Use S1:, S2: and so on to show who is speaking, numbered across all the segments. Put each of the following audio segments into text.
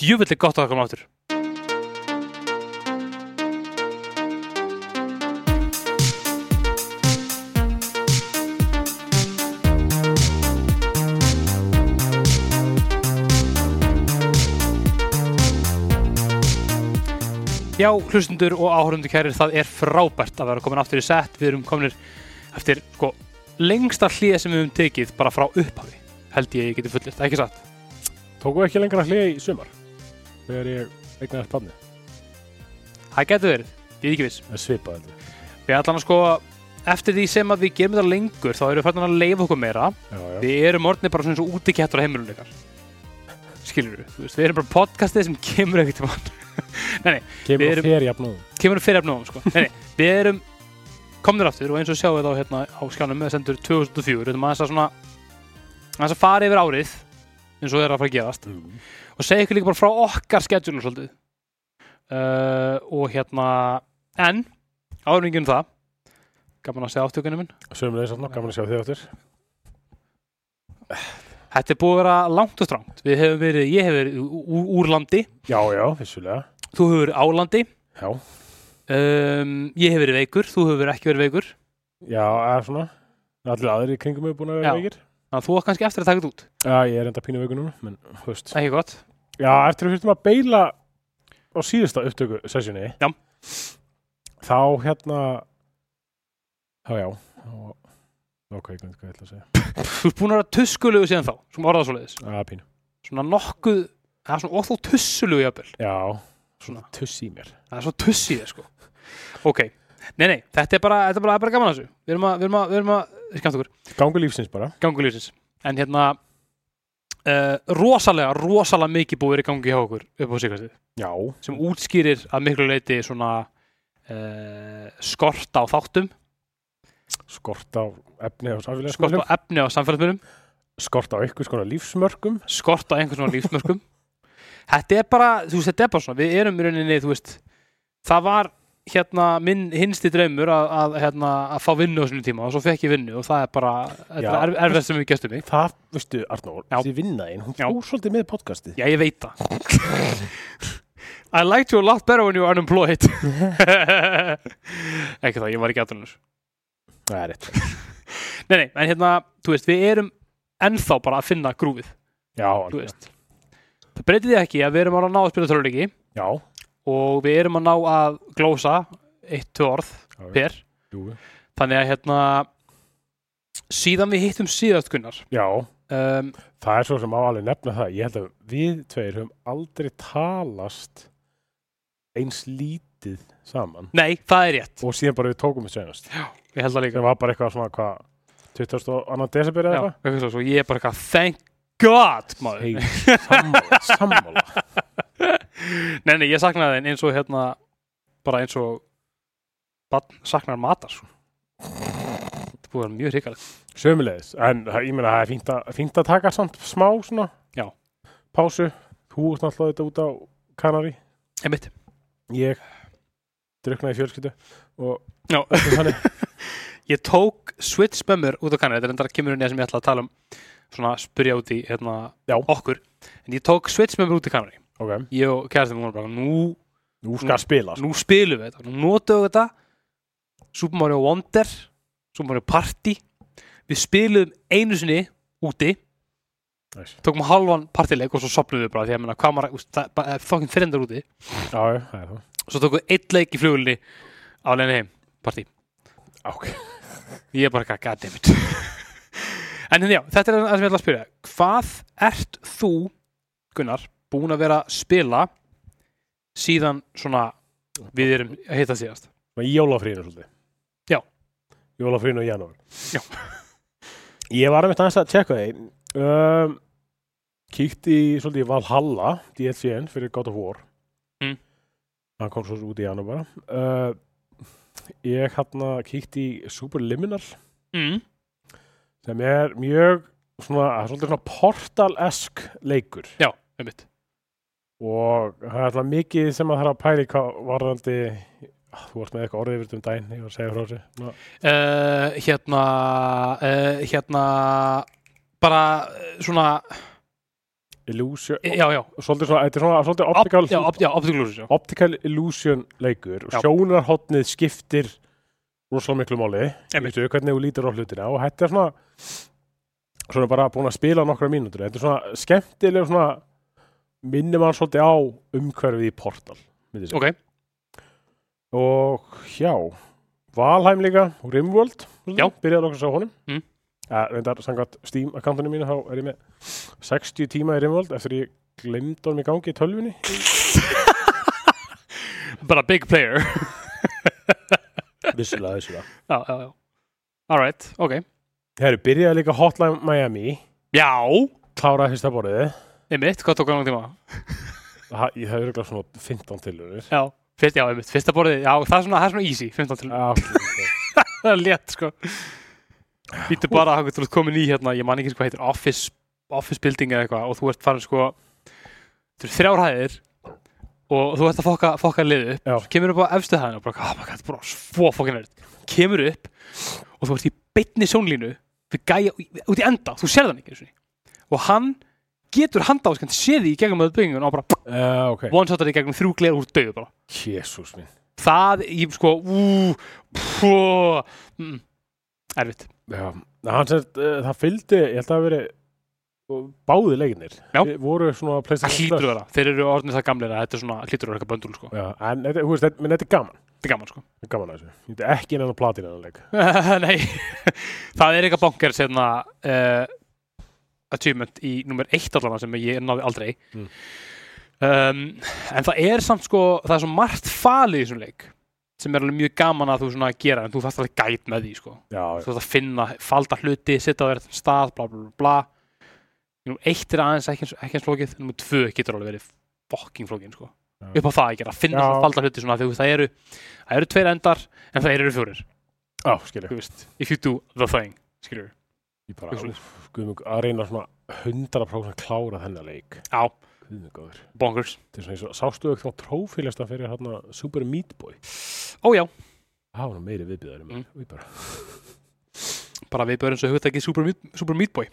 S1: djöfull er gott að það koma aftur Já, hlustundur og áhörundu kærir, það er frábært að vera komin aftur í sett. Við erum kominir eftir sko, lengsta hlýja sem við höfum tekið bara frá upphafi, held ég að ég geti fullirt, ekki satt?
S2: Tóku ekki lengra hlið í sumar Þegar ég eignaðist banni
S1: Það getur verið, ég er ekki viss.
S2: Það svipa heldur
S1: Við allan að sko, eftir því sem að við gerum þetta lengur, þá erum við færdin að leifa okkur meira.
S2: Já, já,
S1: Við erum orðinni bara svona eins og útikettur á heimilunum ykkar. Skilur við, þú veist, við erum bara podcastið sem kemur ekkert til mann.
S2: kemur
S1: við
S2: erum...
S1: erum-
S2: þér jafnúðum
S1: Kemur fyrir efnum, sko. Nei, nei, við erum komnir aftur og eins og sjáum við þá hérna á skjánum, það sendur 2004, við erum aðeins að svona, aðeins að fara yfir árið, eins og það er að fara að gerast.
S2: mm.
S1: og segja ykkur líka bara frá okkar skedjúlum svolítið uh, og hérna en áringin það gaman að segja áttökunum minn
S2: Sömulegis alltaf, gaman að sjá þig áttir
S1: þetta er búið að vera langt og strangt við hefum verið, ég hef verið ú- ú- úr landi
S2: Já, já, vissulega
S1: þú hefur verið á landi
S2: Já,
S1: um, ég hef verið veikur, þú hefur ekki verið veikur
S2: já, eða svona Allir aðrir í kringum hefur búin að vera
S1: Já.
S2: veikir
S1: þannig að þú átt kannski eftir að taka þetta út
S2: Já, ég er enda pínu veikur núna Men, þú veist
S1: ekki gott,
S2: Já, eftir að við fyrstum að beila á síðasta upptöku sessjunni
S1: Já.
S2: Þá hérna Þá já þá- Ok, ég glemt hvað ég ætla að segja
S1: þú ert búin að vera tuskulugu síðan þá sem orðað svoleiðis,
S2: Já, pínu
S1: svona nokkuð það er svona óþó tussulugu jafnvel
S2: Já,
S1: svona,
S2: tuss í mér
S1: það er svo tuss í þér sko ok, nei nei, þetta er bara, þetta er bara, það er bara gaman að þessu við erum að, við erum að, við erum að, skemmt okkur
S2: Gangu lífsins bara
S1: gangu lífsins en hérna uh, rosalega, rosalega mikið búið er í gangi hjá okkur upp á síkastið
S2: Já,
S1: sem útskýrir að miklu leiti svona uh, skort á þáttum
S2: skort á efni á
S1: skort
S2: samfélagsmiðlum
S1: á efni á samfélagsmyndum
S2: Skort á einhvers konar lífsmörkum
S1: skort á einhvern svona lífsmörkum þetta er bara, þú veist, þetta er bara svona við erum í rauninni, þú veist það var hérna minn hinsti draumur að, að, hérna, að fá vinnu á sinu tíma og svo fekk ég vinnu og það er bara þetta
S2: Já.
S1: er erfið sem við gestum mig
S2: Það, veistu, Arnór,
S1: Já.
S2: þessi vinnaðin Hún
S1: Já.
S2: fór svolítið með podcastið
S1: Já, ég veit það I liked you a lot better when you were unemployed Ekki það, ég var ekki aðtunur
S2: Það er rétt
S1: Nei, nei, en hérna, þú veist, við erum ennþá bara að finna grúfið,
S2: Já,
S1: þú
S2: algjörlega.
S1: veist Það breytir því ekki að við erum að ná að spila töluleiki
S2: já,
S1: og við erum að ná að glósa eitt, tvö orð
S2: Já, já.
S1: per
S2: jú.
S1: Þannig að hérna síðan við hittum síðast Gunnar
S2: já
S1: um,
S2: Það er svo sem á alveg nefna það. Ég held að við tveir höfum aldrei talast eins lítið saman
S1: Nei, það er rétt,
S2: og síðan bara við tókum við seinast.
S1: ég held það líka
S2: Það var bara eitthvað svona hvað 22. desember eða
S1: Já,
S2: eitthvað.
S1: eitthvað svo, ég er bara eitthvað, thank god maður
S2: Hey, sammála, sammála.
S1: Nei, nei, ég saknaði þeim eins og hérna bara eins og barn saknar matar sko. Þetta er búið að vera mjög hrikaleg
S2: Sömulegis, en það- ég meina það er fínt að, fínt að taka samt smá svona
S1: Já.
S2: pásu. Þú ert náttúrulega þetta út á Kanari.
S1: Einmitt
S2: Ég druknaði í fjölskyldu og
S1: Já.
S2: þannig.
S1: Ég tók Switch með mér út á kanari þetta er endara kemur neða sem ég ætla að tala um svona spyrja út í hérna
S2: Já.
S1: okkur en ég tók Switch með mér út í kanari
S2: Ok,
S1: ég og kærastin mér bara nú,
S2: nú skal spila. sko.
S1: nú spilum við þetta nú notum við þetta Super Mario Wonder Super Mario Party við spilum einu sinni úti
S2: Nice.
S1: tókum halvan partileik og svo sopnum við bara því að menna hvað maður, úst, það bara- það er þokkinn þrindar úti
S2: Já, já, það er það.
S1: svo tókum við eitt leik í flugulni á leiðinni heim, partí
S2: Ok.
S1: ég er bara eitthvað, goddammit en hérna já, þetta er það sem ég ætla að spyrja hvað ert þú Gunnar, búin að vera að spila síðan svona við erum að hitta síðast
S2: Svona í jólafrínu svolítið.
S1: Já.
S2: Jólafrínu og janúar.
S1: Já.
S2: Ég var einmitt aðeins að tjekka þeim. Um, kíkti í svolítið í Valhalla, DLC-n, fyrir God of War.
S1: Mm.
S2: Það kom svo út í janúar bara. Uh, ég hérna kíkti í Superliminal,
S1: mm.
S2: sem er mjög svona, það er svolítið svona portal-esk leikur.
S1: já, einmitt
S2: Og það er alltaf mikið sem að það er að pæli hvað varðandi, ah, þú varst með eitthvað orðið yfir um daginn, ég var að segja frá þessu. Ná,
S1: uh, hérna eh, uh, hérna bara uh, svona
S2: illusion
S1: eh, já, já,
S2: svolítið svona, þetta er svona svolítið optical,
S1: já, op, já, optical illusion já.
S2: optical illusion leikur og
S1: Já.
S2: sjónarhotnið skiptir rosalega miklu máli
S1: Einmitt.
S2: veistu, hvernig þú lítur á hlutina og þetta er svona svona bara búin að spila nokkra mínútur þetta er svona skemmtileg svona minnir mann svolítið á umhverfið í Portal myndi ég segja.
S1: ok,
S2: og já Valheim líka og Rimworld
S1: Já.
S2: byrjaði nokkuð að sjá honum
S1: Mm.
S2: ja, reyndar samkvæmt Steam akkantinu mínu þá er ég með 60 tíma í Rimworld eftir ég glemd honum í gangi í tölvunni
S1: bara big player
S2: vissulega, vissulega
S1: já, já, já alright, ok,
S2: Herru, byrjaði líka Hotline Miami
S1: já
S2: kláraði fyrsta borðið
S1: einmitt, hvað tók hann tíma?
S2: ha, ég það eru ekki svona 15 tilurur
S1: já, fyrst, já, einmitt, fyrsta borðið já, það er svona, það er svona easy, 15 til það er létt, sko býttu bara, hann getur komin í hérna ég man ekki hvað heitir, office office building eða eitthvað og þú ert farin sko þú eru þrjár hæðir og þú ert að fokka, fokka liðu
S2: Já.
S1: upp kemur upp á efstu hæðin og bara, oh my god, bara svo fokkin verið kemur upp og þú ert í beinni sjónlínu við gæja út í enda, þú sér þann ekki einu sinni. og hann getur handáskant séði í gegnum öðu byggingun og bara
S2: uh, ok
S1: one shotar í gegnum þrjú gleð úr döðu bara
S2: jésús minn
S1: það, ég sko ú, pú, mm, erfitt
S2: já, hann sér, uh, það fylgdi ég held að það hafi verið og báði leikinir
S1: Já.
S2: voru svona
S1: Það
S2: PlayStation
S1: hlýtur að vera, þeir eru orðinir það gamlega þetta er svona, hlýtur að vera eitthvað böndul sko
S2: já, en þetta, þú veist, þetta, menn þetta er gaman
S1: þetta er gaman sko
S2: þetta er gaman að þessu þetta er ekki innan að platina hann leik
S1: Nei, það er eitthvað bankar sérna uh, achievement í nummer eitt allan sem ég náði aldrei
S2: Mm.
S1: um, en það er samt sko það er svo margt falið í þessum leik sem er alveg mjög gaman að þú svona gera en þú þarft alveg gæt með því sko
S2: já, já,
S1: þú þarft að finna, falda hluti, setja það verið stað, bla bla bla, bla. Númer eitt er aðeins ekki, eins- ekki eins flókið númer tvö getur alveg verið fucking flókin sko.
S2: Já.
S1: upp á það ekki, að finna
S2: Já.
S1: svona falda hluti svona, þegar það eru, það eru tveir endar en það eru fjórir,
S2: já skilja
S1: þú veist if you do the thing, skilur
S2: ég bara, úf, guðmjög, að reyna svona 100% að klára þennan leik
S1: á,
S2: guðmjög góður
S1: bonkers
S2: þetta er svona eins og, sástu ekki þá trófílasta fyrir hérna Super Meat Boy
S1: ó já,
S2: það var nú meiri viðbjöðari mm.
S1: Mm.
S2: við bara
S1: bara við börjum svo hugtækið Super, Meat- Super Meat Boy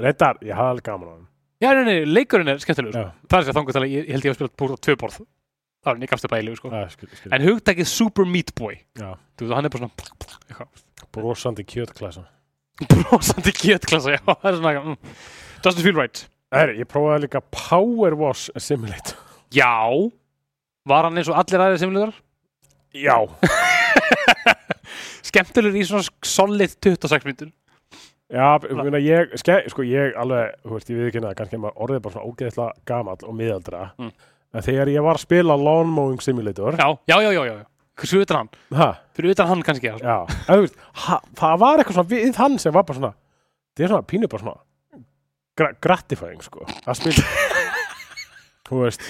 S2: Reyndar, ég hafði alveg gaman á hann
S1: já, nei, nei, leikurinn er skemmtilegur
S2: Já.
S1: sko. það er sér þangað til að ég, ég held ég að spila búið á tvö borð það er en ég gafst upp að eilu sko.
S2: ah, skil, skil.
S1: en hugtækið Super Meat Boy
S2: Já.
S1: þú veist, hann er bara svona eitthvað
S2: brosandi kjötklæsa
S1: brosandi kjötklassa, já, það er svona mm. doesn't feel right
S2: Herri, ég prófaði líka Power Wash Simulator
S1: já, var hann eins og allir aðrir simluðar
S2: Já
S1: skemmtilegur í svona solid 26 myndur
S2: Já, ég meina, ég, ske, sko, ég alveg, þú veist, ég við ekki neða, kannski maður orðið bara svona ógeðislega gamall og miðaldra
S1: Mm.
S2: en þegar ég var að spila Lawn Mowing Simulator
S1: já, já, já, já, já, já. hversu utan hann
S2: ha,
S1: fyrir utan hann kannski, já,
S2: já, en þú veist, ha, það var eitthvað svona við hann sem var bara svona það er svona pínu bara svona gra gratifying, sko, að spila þú veist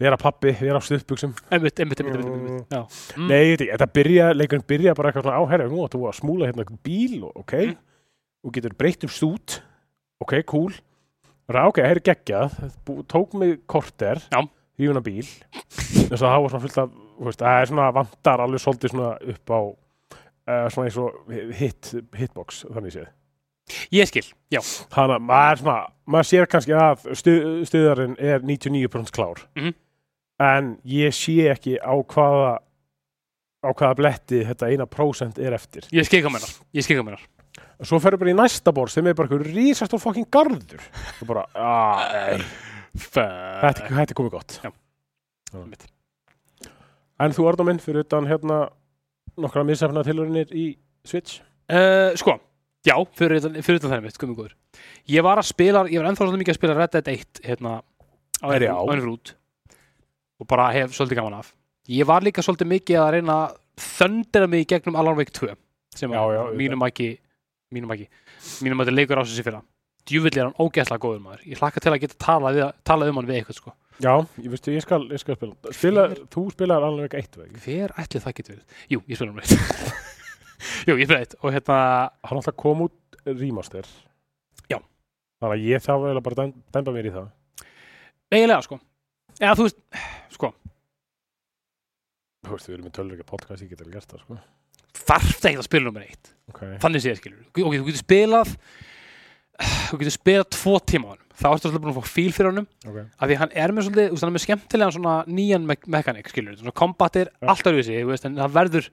S2: vera pappi, vera á stuðbuxum
S1: einmitt, einmitt, einmitt, einmitt, einmitt. Já. Mm.
S2: Nei, ég veit ekki, þetta byrja, leikurinn byrja bara eitthvað svona áherja, nú áttu að smúla hérna einhvern bíl og ok,
S1: Mm.
S2: og getur breytt um stút, ok, cool bara ok, það er geggjað bú- tók mig korter
S1: Já.
S2: hrífuna bíl, þess að það var svona fullt af þú veist, það er svona vantar alveg svolítið svona upp á uh, svona eins og hit, hitbox þannig séð,
S1: ég skil, já,
S2: þannig að maður er svona maður sér kannski að stu, stuðarinn er 99% klár
S1: Mhm.
S2: en ég sé ekki á hvaða á hvaða bletti þetta eina prósent er eftir
S1: ég skil hvað mennar ég skil hvað mennar,
S2: svo ferur bara í næsta borð sem er bara einhver rísastór fokkin garður og bara, að, nei, þetta,
S1: fuck
S2: þetta er komið gott
S1: Já. Einmitt.
S2: en þú Arnó minn fyrir utan hérna nokkra misafna tilurinnir í Switch
S1: Uh, sko, já, fyrir utan, fyrir utan það mitt, komið góður. Ég var að spila, ég var ennþá svolítið mikið að spila Red Dead 1 hérna á
S2: Herri,
S1: enn
S2: já.
S1: fyrir út og bara hef svolítið gaman af. Ég var líka svolítið mikið að reyna að þöndra mig í gegnum Alan Wake 2 sem
S2: Já, já,
S1: að mínum ekki, mínum ekki, mínum að þetta leikur ásins í fyrra. Djúvill er hann ógeðslega góður maður. Ég hlakka til að geta talað, við, talað um hann við eitthvað sko.
S2: já, ég veistu, ég skal, ég skal spila, spila þú spilaðar alveg ekki eitt veg
S1: Hver ætli það getur verið? Jú, ég spila um eitt. Jú, ég spila eitt og hérna,
S2: hann alltaf kom út remaster
S1: Já.
S2: þannig að ég þarf eiginlega bara að dem- demba mér í það
S1: eiginlega sko. Eða þú veist, sko,
S2: þú veist, við erum með tölvöka podcast, ég get alveg gert það sko.
S1: þarf það ekki að spila nummer eitt
S2: okay.
S1: þannig séð skilur ok, þú getur spilað þú getur spilað tvo tíma á honum þá ertu svolítið búin að fá fíl fyrir honum
S2: ok
S1: af því hann er með svolítið, þú veist, hann er með skemmtilegan svona nýjan me mekanik, skilur svona kombat er
S2: Já.
S1: alltaf við sig, þú veist, en hann verður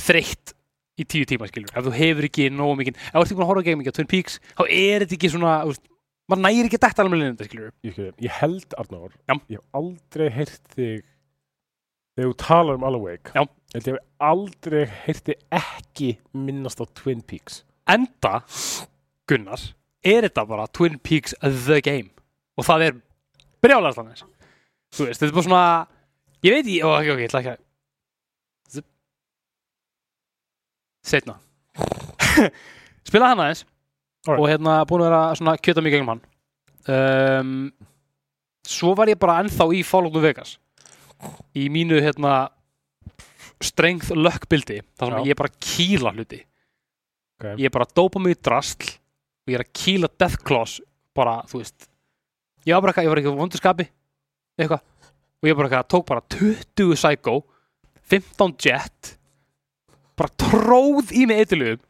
S1: þreytt í tíu tíma, skilur ef þú hefur ekki nógu mikið, ef þú ert ekki búin að horfa ekki mikið á Twin Peaks, þá er þetta ekki svona þú veist, maður nægir ekki að detta alveg linda, skilur
S2: ég, skil, þig. ég held Arnór
S1: Já.
S2: ég hef aldrei heyrt þig þegar þú talar um Alan Wake
S1: Já.
S2: ég held ég hef aldrei heyrt þig ekki minnast á Twin Peaks
S1: enda, Gunnar er þetta bara Twin Peaks The Game og það er brjálast hann þú veist, þetta er bara svona ég veit, ekki- ó, ok, ok, ég ætla ekki að Zip. setna spila hann aðeins
S2: Alright.
S1: og hérna búin að vera svona kjöta mig gegnum hann um, svo var ég bara ennþá í Fallout New Vegas í mínu hérna strength luck bildi þar sem
S2: Já.
S1: ég bara kýla hluti
S2: Ok.
S1: ég bara dópa mig í drasl og ég er að kýla death claws bara, þú veist ég var bara eitthvað, ég var ekki vondurskapi eitthvað, og ég bara eitthvað, tók bara 20 psycho 15 jet bara tróð í mig eitthilugum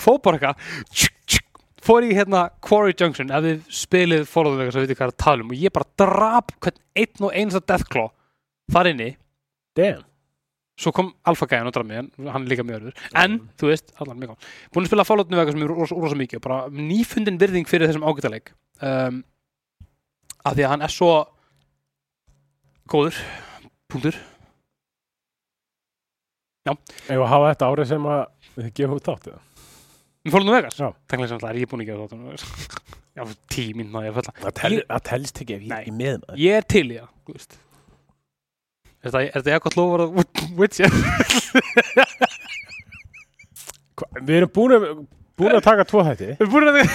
S1: fór bara eitthvað tsk, tsk, fór í hérna Quarry Junction ef þið spilið Fallout Vegas og veitir hvað er að tala um og ég bara drap hvern einn og einasta death claw þar inni
S2: damn
S1: svo kom Alpha Gæðan og draf mig hann, hann er líka mjög örður, en þú veist allan mjög gál, búin að spila Fallout New Vegas sem er rosa, rosa mikið og bara nýfundin virðing fyrir þessum ágætaleik um, af því að hann er svo góður punktur,
S2: ef að hafa þetta árið sem að þið gefum út þátt eða
S1: með Fallout New Vegas
S2: Já.
S1: þannig sem það er ég búin að gera þáttum já, tíminn náði ég að falla
S2: það,
S1: tel-
S2: telst ekki ef
S1: ég er ekki
S2: með maður
S1: ég er til í það, þú veist er þetta- er þetta eitthvað lofur að Witcher?
S2: Hva, við erum búin að, búin að taka tvo þætti
S1: Við erum búin að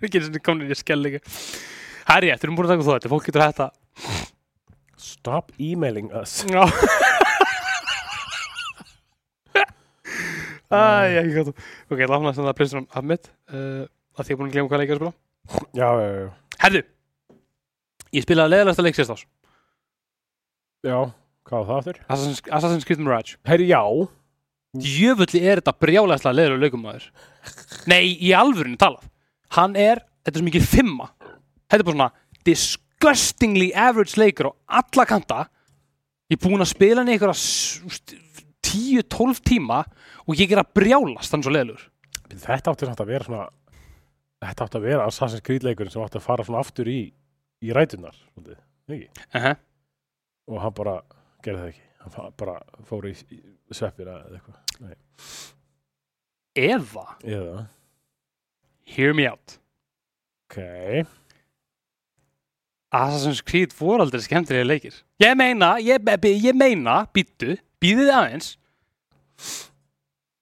S1: Við getum svona komin í skellingu Það er rétt, við erum búin að taka þó þetta Fólk getur hægt að
S2: stop emailing us
S1: Já Æ, ég gætu Ok, ég lána sem það prinsir hann af mitt uh, að því ég er búin að glemma hvað leik ég er að spila
S2: já, já, já,
S1: Herðu, ég spilaði leðalegasta leik sérstás
S2: já, hvað var það aftur?
S1: Assassin's, Assassin's Creed Mirage
S2: herri, já,
S1: Jöfulli er þetta brjálæðslega leðalega leikum maður Nei, í alvörinu talað Hann er, þetta er svo mikið fimma Þetta er bara svona disgustingly average leikur á alla kanta Ég er búin að spila hann í einhverja 10-12 tíma og ég er að brjálast hann er svo leðalur
S2: þetta átti samt að vera svona þetta átti að vera Assassin's Creed leikurinn sem átti að fara svona aftur í í rætunar, ekki?
S1: uh -huh.
S2: og hann bara gerði það ekki hann fa- bara fór í í sveppina eða eitthvað
S1: Eða,
S2: eða
S1: hear me out
S2: ok
S1: Assassin's Creed voru aldrei skemmtilega leikir Ég meina, ég, be- be- ég meina býttu, býðið aðeins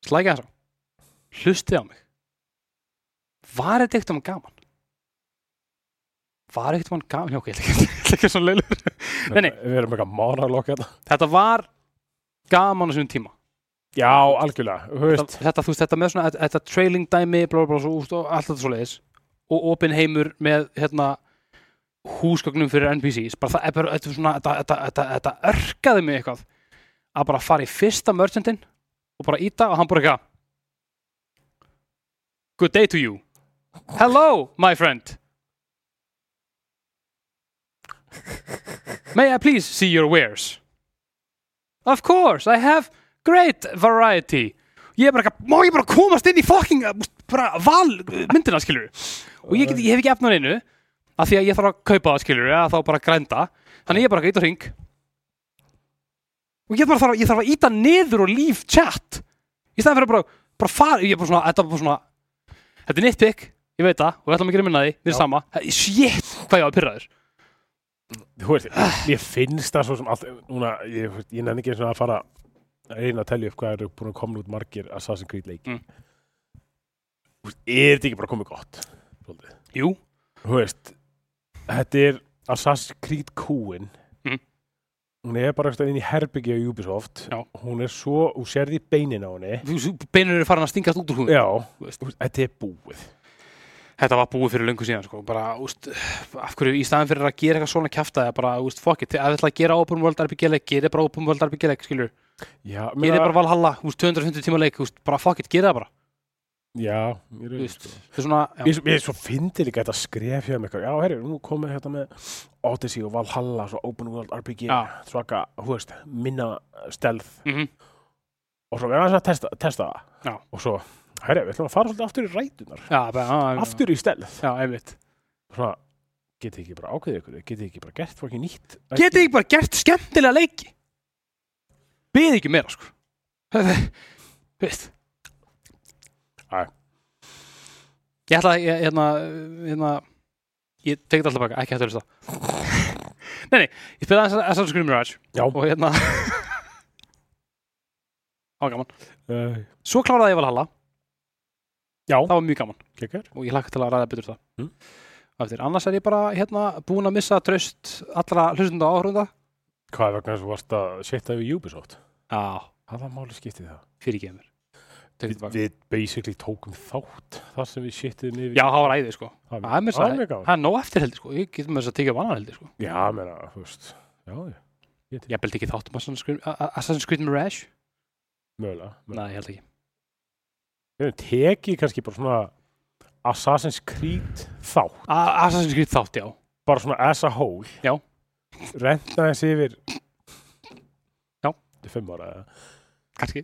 S1: Slækja þess á Hlustið á mig Var þetta eitthvað gaman? Var eitthvað gaman? Já, ok, ég ætla ekki- ég ætla ekki að vera svona leilur Nei, nei.
S2: við erum eitthvað monolog hérna
S1: Þetta var gaman á svona tíma
S2: já, algjörlega, þú
S1: þetta,
S2: veist
S1: þetta, þú veist, þetta með svona þetta- þetta trailing dæmi blá, blá, blá, svo, úst, og allt þetta svo leiðis og opin heimur með hérna húsgögnum fyrir NPCs bara það er bara, þetta, er svona, þetta, þetta, þetta, þetta örkaði mig eitthvað að bara fara í fyrsta merchantin og bara íta og hann bara eitthvað Good day to you Hello, my friend May I please see your wares? Of course, I have great variety ég er bara eitthvað, má ég bara komast inn í fucking uh, bara val eh, myndina skilur og ég, get, ég hef ekki efnað einu af því að ég þarf að kaupa það skilur eða þá bara grænda, þannig ég er bara eitthvað ít og hring og ég bara þarf, að- ég þarf að íta niður og líf chat í staðan fyrir að bara, bara fara ég er bara svona, þetta er bara svona þetta er nitpick, ég veit það, og við ætlum að gera minna því við
S2: Já.
S1: erum sama, shit, hvað ég var að pyrra þér
S2: þú veist, ég finnst það svo sem allt, núna, ég, þú veist, ég nefn ekki eins og að fara að reyna að telja upp hvað eru búin að koma út margir Assassin's Creed leiki
S1: Mm.
S2: þú veist, er þetta ekki bara komið gott svolítið?
S1: jú,
S2: þú veist, þetta er Assassin's Creed kúin
S1: Mhm.
S2: hún er bara einhvern veginn í herbyggja í Ubisoft
S1: Já.
S2: hún er svo, hún sérði beinin á henni
S1: þú- þú- beinur eru farin að stingast út úr húðum
S2: Já,
S1: Þú veist.
S2: þetta er búið
S1: þetta var búið fyrir löngu síðan sko. bara, úst, af hverju í staðin fyrir að gera eitthvað svona kjafta eða bara, úst, fuck it, ef þið ætla að gera open world RPG leik, gera bara open world RPG leik skilur,
S2: Já,
S1: gera bara Valhalla, úst, 250 tíma leik úst, bara fuck it, gera það bara
S2: já, ég
S1: Þú
S2: rauði
S1: veist,
S2: sko.
S1: þetta er svona já,
S2: Mér er svo fyndi líka þetta skref hjá mig Já, herri, nú komið hérna með Odyssey og Valhalla, svo Open World RPG
S1: Já.
S2: svaka, hú veist, minna stelð
S1: mhm,
S2: og svo verðum við aðeins að testa, testa það
S1: Já.
S2: og svo, herri, við ætlum að fara svolítið aftur í rætunar
S1: já, bara, já, já,
S2: aftur í stelð
S1: já, einmitt
S2: svona, getið ekki bara ákveðið ykkur getið ekki bara gert fólki nýtt
S1: Getið ekki bara gert skemmtilega leiki Beðið ekki meira sko Þetta- Veist
S2: Æ.
S1: Ég ætla að ég- hérna, hérna Ég tekið alltaf baka, ekki hættu að hlusta Nei, nei, ég spilaði þess að þess að skrifum ræðs
S2: Já.
S1: Og hérna Það var gaman
S2: uh,
S1: Svo kláraði ég Valhalla
S2: Já.
S1: Það var mjög gaman
S2: kekar
S1: og ég hlakka til að ræða betur það
S2: Mm.
S1: Eftir, annars er ég bara hérna búin að missa tröst allra hlustunda og áhrunda
S2: Hvað er vegna þess að þú varst að setja yfir Ubisoft?
S1: Já,
S2: Hvað var máli skiptið það?
S1: fyrir kemur
S2: Við, við basically tókum þátt þar sem við setjum yfir
S1: Já, það var æðið sko
S2: það
S1: það er mér
S2: það
S1: sagði.
S2: er mjög
S1: Það
S2: gáð
S1: er nóg eftir heldur sko, ég getum þess að tekið vanað heldur sko
S2: Já, meina, þú veist Já, já,
S1: Ég beldi ekki þáttum Assassin's Creed- A- A- Assassin's Creed Mirage
S2: mögulega mögulega.
S1: Nei, ég held ekki
S2: Við höfum tekið kannski bara svona Assassin's Creed þátt
S1: A Assassin's Creed þátt, já
S2: bara svona as a whole
S1: Já.
S2: Renta þess yfir
S1: Já.
S2: Þetta er fimm ára eða
S1: Kanski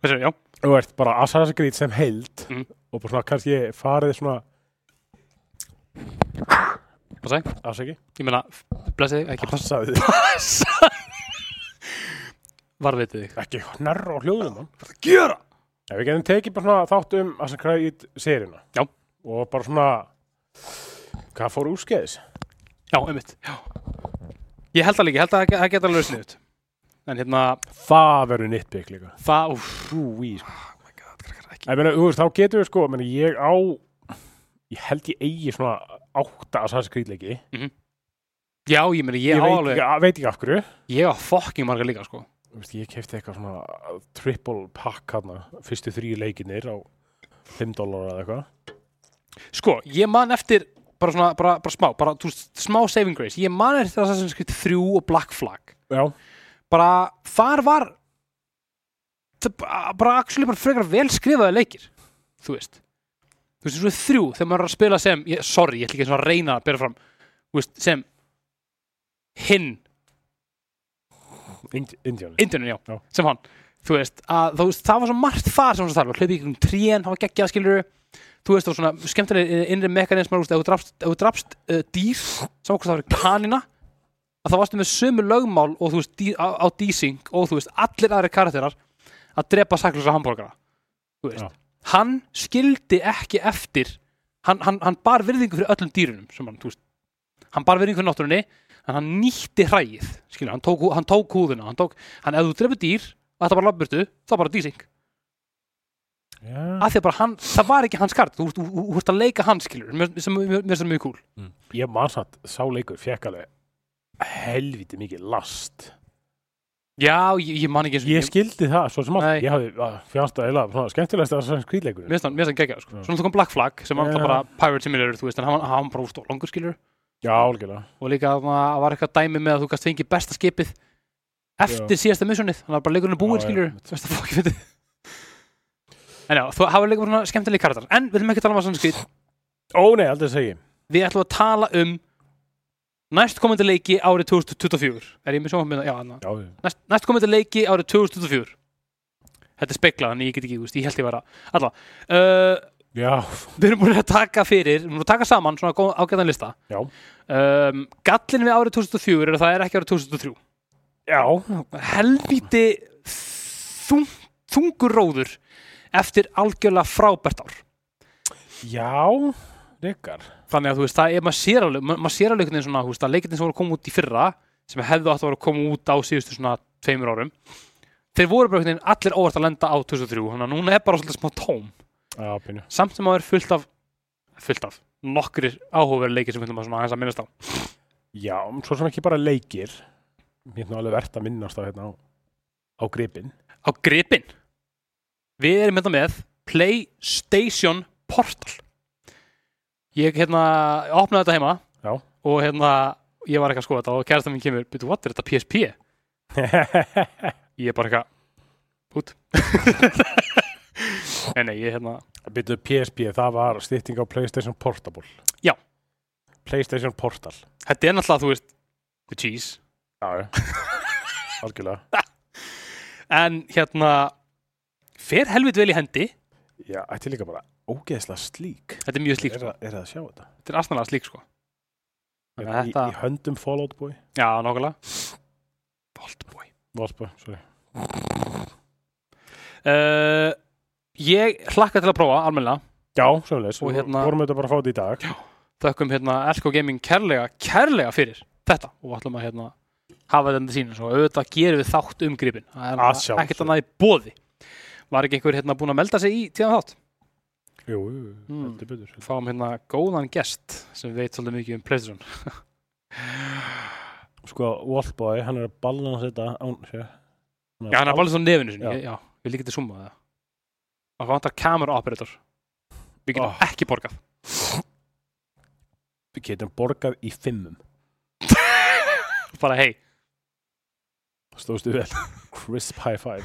S1: Þessu, já
S2: Þú ert bara Assassin's Creed sem heild
S1: Mm.
S2: og bara svona kannski farið svona
S1: Passa þig.
S2: Afsaki
S1: Ég meina, blessið þig, ekki passa
S2: Passaði þig
S1: Varvitið þig
S2: Ekki nærra á hljóðunum hann
S1: Gjöra!
S2: Ef við getum tekið bara svona þátt um Assassin's Creed seríuna
S1: Já.
S2: Og bara svona Hvað fór úrskeiðis?
S1: Já, einmitt já. Ég held það líka, ég held að það geta alveg sniðut En hérna,
S2: Það verður nitpik líka
S1: það, úf
S2: Úi sko.
S1: Oh my god, krakkar, ekki
S2: Ég meina, þú veist, þá getum við sko meni, Ég á Ég held ég eigi svona átta Assassin's Creed leiki
S1: Já, ég meina, ég, á
S2: Ég veit
S1: alveg
S2: ekki, veit ekki af hverju
S1: Ég á fucking marga líka, sko
S2: Þú veist, Ég kefti eitthvað svona triple pack hana Fyrstu þrý leikinir á 5 dólar eða eitthvað
S1: Sko, ég man eftir bara svona, bara, bara smá, bara þú, veist, smá saving grace ég man eftir Assassin's Creed 3 og Black Flag
S2: Já,
S1: bara, þar var það ba- bara, actually, bara frekar vel skrifaði leikir, þú veist þú veist, þessu þrjú, þegar maður er að spila sem ég, sorry, ég ætla ekki svona að reyna að bera fram þú veist, sem hinn,
S2: Ind Indian
S1: Indunum, já,
S2: Já.
S1: sem hann þú veist, að, þú veist, það var svo margt þar sem var svo þar, hlaupi ykkur um trén, hann var geggjað skilur þú veist, það var svona skemmtileg eh, innri mekanismar, þú veist, ef þú drafst, ef þú drafst uh, dýr, sem okkur það var kanina að þá varstu með sömu lögmál og þú veist, dý, á, á dísing og þú veist, allir aðri karakterar að drepa saklusa hambúrgara þú veist,
S2: Já.
S1: hann skildi ekki eftir hann, hann, hann bar virðingu fyrir öllum dýrunum sem hann, þú veist, hann bar virðingu fyrir náttúrunni en hann nýtti hræið skilur, hann, tók, hú- hann tók húðina hann, tók, hann ef þú drefur dýr og þetta bara labburtu þá bara dísing
S2: Já.
S1: af því að bara hann, það var ekki hans kart þú þú- þú- þú ert að leika hans skilur mér sem mér finnst það mjög cool
S2: Ég man samt, sá leikur fekk alveg helviti mikið last
S1: já, ég, ég man ekki eins og
S2: Ég skildi það, svo sem
S1: Nei.
S2: allt Ég hafði fjárstað eila svona skemmtilegast að það skrýðleikur
S1: mér finnst hann- mér finnst hann geggjað sko.
S2: Já.
S1: svona þú kom Black Flag sem var
S2: Já.
S1: yeah. bara Pirate Simulator þú veist en hann, hann bara úrst og langur skilur
S2: Já, algjörlega
S1: og líka að það var eitthvað dæmi með að þú gast fengið besta skipið eftir síðasta missunnið þannig að bara leikurinn er búinn
S2: Já, já,
S1: skilur
S2: einmitt.
S1: þú veist það fokk fyndi en já, þú hafa líka bara um svona skemmtileg kartar en við ætlum ekki að tala um að sannskrið
S2: Ó nei, aldrei segi
S1: við ætlum að tala um næst komandi leiki árið 2024 er ég með sjónvarpmynda? Já, anna.
S2: Já,
S1: næst, næst komandi leiki árið 2024 þetta er speklað en ég get ekki, þú veist, ég held ég vera allavega, uh,
S2: já,
S1: við erum búin að taka fyrir við erum búin að taka saman svona góð- ágætan lista
S2: já,
S1: um, gallin við árið 2004 er að það er ekki árið 2003
S2: já.
S1: helvíti þung, þungur róður eftir algjörlega frábært ár
S2: Já, reykar
S1: þannig að þú veist, það er, maður sér alveg ma- maður sér alveg einhvern veginn svona, þú veist, að leikirnir sem voru að koma út í fyrra sem hefðu átt að voru að koma út á síðustu svona tveimur árum þeir voru bara einhvern veginn allir óvart að lenda á 2003 þannig að núna er bara svolítið smá tóm
S2: Já, pínu
S1: samt sem maður er fullt af fullt af, nokkrir áhugaverð leikir sem við ætlum að svona aðeins að minnast á
S2: Já, svo sem ekki bara leikir Mér er nú alveg verðt að minnast á hérna á, á gripin
S1: á gripin við erum hérna með Playstation Portal ég hérna opnaði þetta heima
S2: Já.
S1: og hérna ég var eitthvað að skoða þetta og kærasta mín kemur, betur, what er þetta PSP?
S2: Já,
S1: ég er bara eitthvað út Nei, nei, ég hérna
S2: Byrjuðu PSP, það var stytting á Playstation Portable
S1: Já.
S2: Playstation Portal
S1: Þetta er náttúrulega, þú veist, the cheese
S2: Já, algjörlega
S1: En hérna Fer helvit vel í hendi
S2: Já, ætti líka bara ógeðslega slík
S1: Þetta er mjög slík,
S2: Er
S1: sko.
S2: það er það að sjá þetta?
S1: þetta er astanlega slík sko.
S2: Er
S1: Þannig að
S2: það í,
S1: þetta,
S2: í höndum Fallout Boy
S1: já, nákvæmlega Boldboy
S2: Fallout Boy, sorry
S1: uh, Ég hlakka til að prófa, almennilega
S2: Já, sömulegis,
S1: Og
S2: við
S1: hérna-
S2: vorum þetta bara að fá þetta í dag
S1: Þökkum hérna Elko Gaming kærlega, kærlega fyrir þetta og ætlum að hérna hafa þetta sín og auðvitað gerum við þátt um gripin Það er
S2: Að
S1: náttúrulega ekkert
S2: sjálfsögðu.
S1: annað í bóði Var ekki einhver hérna búin að melda sig í tíðan þátt?
S2: Jú, jú, jú,
S1: Mm.
S2: heldur betur
S1: Fáum hérna góðan gest sem veit svolítið mikið um Playstation
S2: Sko, Wallboy, hann er að balans þetta án sé
S1: Já, hann er alveg
S2: balans
S1: svona nefinu sinni,
S2: Já.
S1: já, já við líka til summa það Það vantar camera operator Við getum
S2: Oh.
S1: ekki borgað
S2: Við getum borgað í fimmum
S1: bara hei,
S2: Stóðstu vel Crisp high five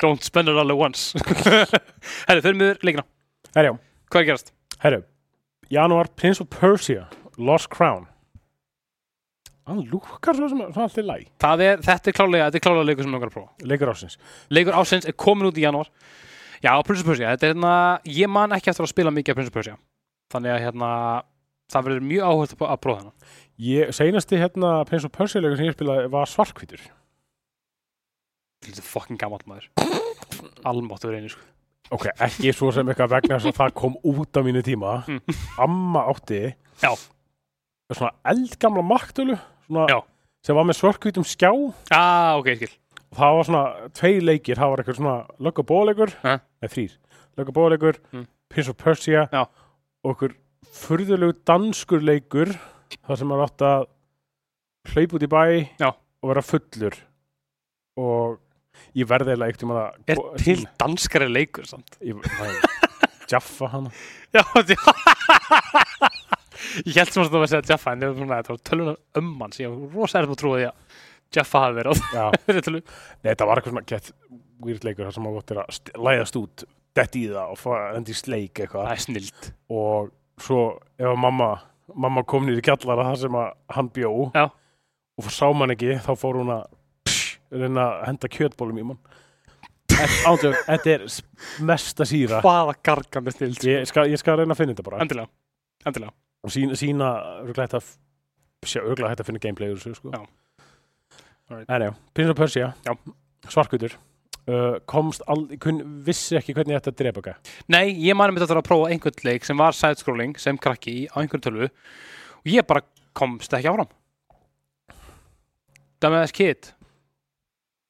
S1: don't spend it all at once Herri, þau miður leikina
S2: Herjá,
S1: Hvað er að gerast?
S2: herjá Janúar, Prince of Persia Lost Crown Hann lúkar svo sem svona allt í læ
S1: Það er, þetta er klálega, þetta er klálega leikur sem langar að prófa
S2: Leikur ásins
S1: Leikur ásins er komin út í janúar Já, Prince of Persia, þetta er hérna ég man ekki eftir að spila mikið af Prince of Persia þannig að hérna, það verður mjög áhört að prófa þennan
S2: Ég, seinasti hérna Prince of Persia leikur sem ég spilaði var svarkvítur
S1: Þetta er fucking gamall maður Almáttu verið einu, sko
S2: Ok, ekki svo sem eitthvað vegna þess að það kom út á mínu tíma
S1: Mm.
S2: Amma átti
S1: Já.
S2: Svona eldgamla maktölu svona,
S1: Já.
S2: sem var með svarkvítum skjá
S1: Ah, ok, ég skil
S2: það var svona tvei leikir, það var eitthvað svona löggabóðleikur,
S1: Ha?
S2: eða þrýr löggabóðleikur,
S1: Mm.
S2: Prince of Persia
S1: Já.
S2: og okkur furðulegu danskur leikur þar sem maður átt að hlaupa út í bæ
S1: Já.
S2: og vera fullur og ég verði eiginlega eitt um að
S1: Er til danskari leikur samt?
S2: ég, Jaffa hana
S1: Já, þetta Ég held sem að það var að segja Jaffa en þetta var svona- þetta var tölunar um hans ég var rosa erfum að trúa því að Jaffa hafi verið á
S2: Já.
S1: þeirri tölu
S2: Nei, þetta var eitthvað svona gett weird leikur þar sem maður átt er að st- læðast út dett í það og fá- enda í sleik eitthvað
S1: Það er snild
S2: og svo ef að mamma, mamma kom nýri kjallara þar sem að hann bjó
S1: Já.
S2: og sá mann ekki, þá fór hún að psh, reyna að henda kjötbólum í mann ándjör, þetta er s- mesta síra
S1: Bara gargandi snild
S2: ég skal, ég skal reyna að finna þetta bara
S1: Endilega Endilega
S2: og sína, sína örgulega þetta f- sjá, örgulega þetta að finna gameplay úr þessu sko.
S1: Já. Alright.
S2: en já, Prince of Persia
S1: Já.
S2: svarkutur uh, komst all, kun, vissi ekki hvernig þetta drepa gæ
S1: Nei, ég manum þetta að prófa einhvern leik sem var sidescrolling sem krakki í- á einhvern tölvu og ég bara komst ekki áfram Dumb ass kid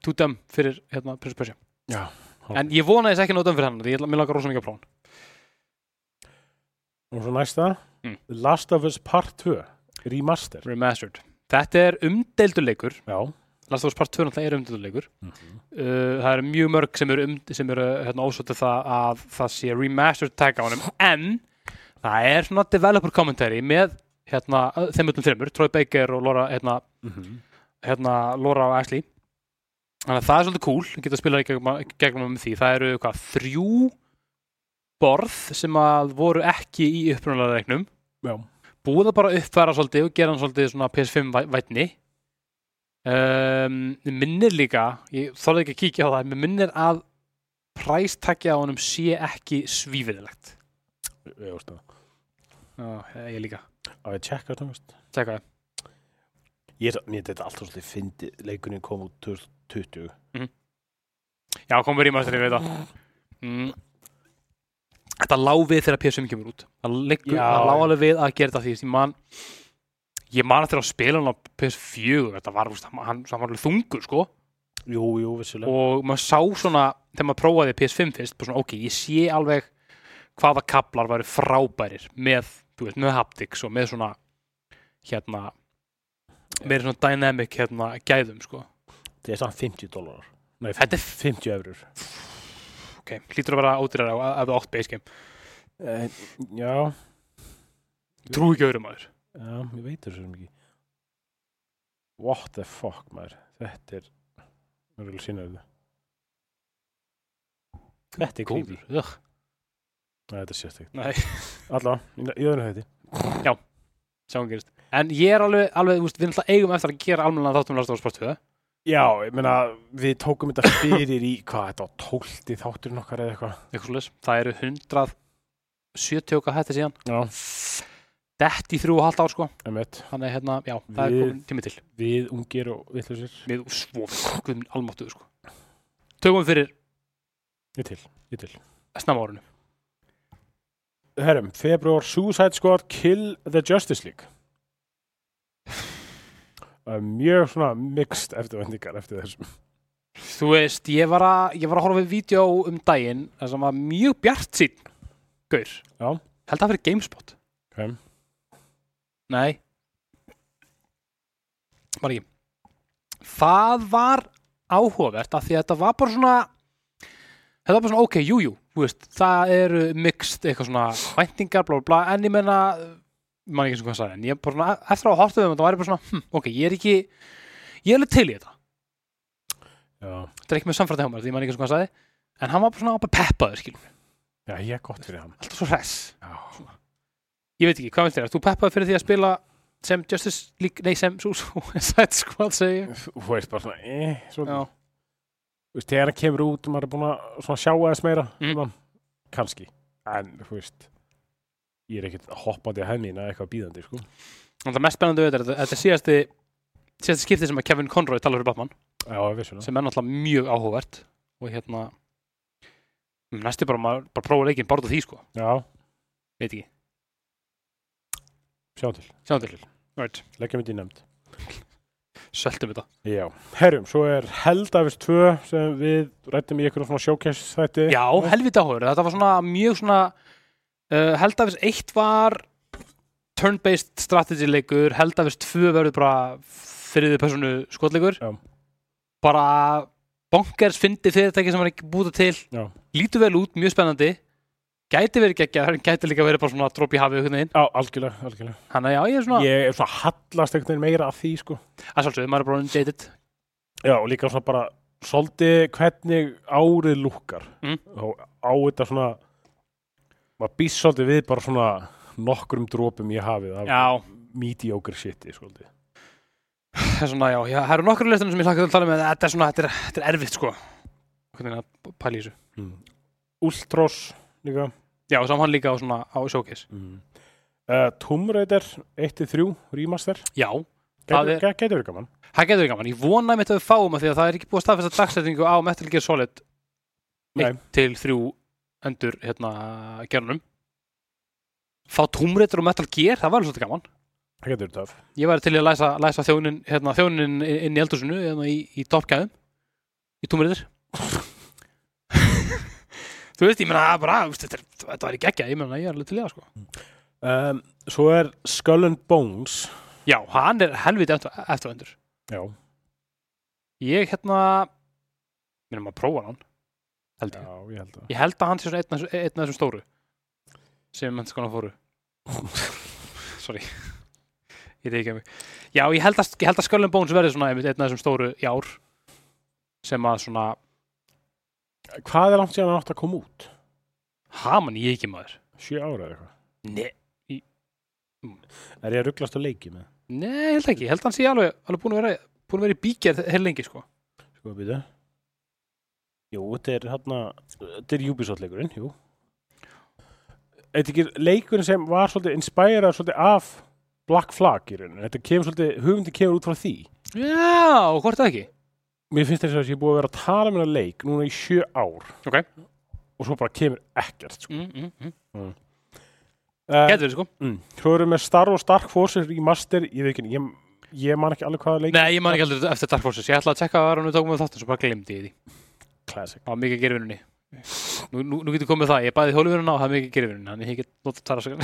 S1: Too dumb fyrir hérna Prince of Persia
S2: Já,
S1: En ég vonaði þess ekki nótum fyrir hann því ég ætla- mér langar rosa mikið að prófa hann
S2: og svo næsta
S1: Mm.
S2: Last of Us Part 2 remaster
S1: Remastered Þetta er umdeildur leikur
S2: já
S1: Last of Us Part 2 náttúrulega er umdeildur leikur uh, Það eru mjög mörg sem eru, um, sem eru hérna, ósóttu það að það sé remastered tag á honum En það er svona developer commentary með hérna, ö- þeim öllum þreymur Troy Baker og Laura, hérna,
S2: Mhm.
S1: hérna, Laura og Ashley Þannig að það er svolítið cool Ég geta að spila í gegnum, gegnum um því Það eru hvað, þrjú borð sem að voru ekki í upprunalega reiknum
S2: já
S1: búið að bara uppfæra svolítið og gera hann svolítið svona PS5 væ- vætni um, mér minnir líka ég þorði ekki að kíkja á það en mér minnir að præstakja á honum sé ekki svífiðilegt
S2: ég veist það
S1: Já, ég líka
S2: að ég tjekka þetta veist
S1: Tjekka það.
S2: ég er mér þetta allt svolítið fyndi leikunni kom út 2020
S1: Já, komum við rýmastarinn við þetta mm. Þetta lá við þegar PS5 kemur út Það, liggur,
S2: Já.
S1: það lá alveg við að gera þetta því ég man, ég man eftir að spila hann á PS4 þetta var, þú veist, hann, hann hann var alveg þungur sko
S2: jú, jú, vissulega
S1: og maður sá svona þegar maður prófaði PS5 fyrst bara svona, ok, ég sé alveg hvaða kaplar væri frábærir með, þú veist, með haptics og með svona hérna með svona dynamic hérna gæðum, sko.
S2: þetta er samt 50 dólarar nei,
S1: Þetta er
S2: 50 eurur
S1: ok, hlýtur að vera ódýrar á að það átt base game.
S2: eh, já,
S1: Trú ekki öðrum aður.
S2: já, ég veit þessu sem ekki what the fuck maður þetta er mér vil sína þetta þetta er creepy
S1: Ugh.
S2: Nei, þetta er sérstækt.
S1: Nei.
S2: Allavega, í- í öðru hætti.
S1: sjáum hvað gerist en ég er alveg, alveg þú veist, við náttúrulega eigum eftir að gera um almennan þáttum lasta á sportu
S2: Já, ég meina, við tókum þetta fyrir í, hvað, þetta var tólti þátturinn okkar eða eitthvað.
S1: eitthvað svoleiðis. það eru 170 okkar hætti síðan
S2: Já,
S1: dett í þrjú og halvt ár sko
S2: emmitt.
S1: þannig hérna, já, það er
S2: Við-
S1: komin tími til
S2: Við ungir og vittlusir.
S1: við svo guðum almáttuðu sko tökum við fyrir
S2: Ég til, ég til.
S1: snemma árinu
S2: Herrum, februar Suicide Squad Kill the Justice League. Það er Mjög svona mixed eftirvendingar eftir þessum.
S1: þú veist, ég var að, ég var að horfa við vídeo um daginn þar sem var mjög bjart sín gaur
S2: Já.
S1: held að fyrir GameSpot
S2: Ok.
S1: nei var ekki það var áhugavert af því að þetta var bara svona þetta var bara svona ok, jú, jú þú veist, það eru mixed eitthvað svona væntingar, bla bla bla, en ég menna man ekki eins og hvað hann sagði, en ég bara svona eftir að horta við um þetta var ég bara svona, hm, ok, ég er ekki ég er alveg til í þetta
S2: Já.
S1: þetta er ekki með samfræði hjá mér, því ég man ekki eins og hvað hann sagði en hann var bara svona bara peppaður, skilum
S2: Já, ég er gott fyrir hann.
S1: alltaf svo hress
S2: Já.
S1: ég veit ekki, hvað veist þér, ert þú peppaður fyrir því að spila sem Justice League, nei sem Suicide Squad segi ég
S2: Þú veist bara svona, eh, svona.
S1: Já.
S2: Þú veist, þegar hann kemur út, maður er búin að svona sjá aðeins meira.
S1: Mm.
S2: Mm. Kanski. En, þú veist, ég er ekkert hoppandi að hefnina eitthvað býðandi, sko.
S1: og það mest spennandi við þetta, er að þetta er síðasti síðasti skiptið sem að Kevin Conroy talar fyrir Batman
S2: Já, ég vissulega.
S1: sem er náttúrulega mjög áhugavert og hérna næstu bara, maður bara prófa leikinn bara út af því sko,
S2: Já,
S1: veit ekki,
S2: sjá til.
S1: sjáum til right.
S2: Leggjum þetta í nefnd.
S1: sveltum þetta,
S2: Já. Herrum, svo er Helldæfis 2 sem við rættum í einhverjum svona showcase þætti.
S1: já, helvita áhugur þetta var svona mjög svona uh, heldafis 1 var turn-based strategy leikur heldafis 2 verður bara þriðið personu skotleikur
S2: Já.
S1: bara bonkers fyndi fyrirtæki sem hann ekki búta til
S2: Já.
S1: lítur vel út, mjög spennandi gæti verið geggjað, hann gæti líka verið bara svona dropp í hafið einhvern veginn,
S2: Já, algjörlega, algjörlega.
S1: hann að já, ég er svona
S2: Ég er svona hallast einhvern veginn meira að því, sko.
S1: að sjálfsögðu, maður er bara undated
S2: Já, og líka svona bara svolítið hvernig árið lúkkar
S1: Mm.
S2: og á þetta svona maður býst svolítið við bara svona nokkrum drópum ég hafið af
S1: já,
S2: mediocre shiti svolítið.
S1: það er svona, já, já, það eru nokkru listunum sem ég hlakka til að tala með, þetta er svona, þetta er, þetta er erfitt sko, hvernig er að pæla í þessu
S2: Mm. Ultros líka
S1: já, og saman hann líka á svona, á showcase
S2: mm. uh, Tomb Raider 1-3 remaster
S1: já, Það
S2: Gæti- gæ- gæti verið gaman
S1: það getur ekki gaman, ég vona mitt að við fáum að því að það er ekki búið að staðfesta dagsetningu á Metal Gear Solid
S2: Nei.
S1: 1 til 3 endur, hérna, gerunum fá tómreitur og Metal Gear, það var alveg svolítið gaman
S2: Það gæti verið töf
S1: ég væri til í að læsa, læsa þjónin hérna, þjónin inn í eldhúsinu hérna, í, í toppgæðum í túmriðir þú veist, ég meina það er bara, þú veist, þetta, er- þetta væri geggja ég meina, ég er alveg til í það sko
S2: um, Svo er Skull and Bones
S1: já, hann er helviti eftir, eftirvendur
S2: Já,
S1: ég hérna ég meina maður prófa hann held
S2: já
S1: ég,
S2: ég held að
S1: ég held að hann sé svona einn af þessu- einn af þessum stóru sem hann skona fóru sorry ég reyka mig já, ég held að, ég held að Skull and Bones verði svona einmitt einn af þessum stóru í ár sem að svona
S2: Hvað er langt síðan hann átt að koma út?
S1: Haman ég ekki maður
S2: Sjö ára eða eitthvað
S1: Nei,
S2: Er ég að rugglast að leiki með?
S1: Nei, ég held ekki, ég held að hann sé alveg, alveg búin að vera búin að vera í bíkjær heil lengi sko
S2: Sko, býtu. Jú, þetta er hérna, þetta er Ubisoft-leikurinn, jú. Þetta er ekki leikurinn sem var svolítið inspirað svolítið af Black Flag í rauninu. Þetta kemur svolítið, hugmyndin kemur út frá því.
S1: Já, hvort það ekki
S2: Mér finnst þess að ég er búið að vera að tala með leik núna í sjö ár.
S1: Ok.
S2: Og svo bara kemur ekkert, sko.
S1: mm, mm, mm.
S2: Uh,
S1: Getur við sko
S2: mm, svo erum við með Star og Stark Forces remaster, ég veit ekki, ég, ég man ekki alveg hvaða leik.
S1: Nei, ég man ekki aldrei eftir Dark Forces Ég ætla að tjekka að varum við tókum við þáttum svo bara glemdi ég því
S2: Classic.
S1: Það var mikið að gera í vinnunni Nú, nú, nú getur komið það, ég bæði hóluvinnuna og það er mikið að gera í vinnunni Þannig ég get notað tæra svo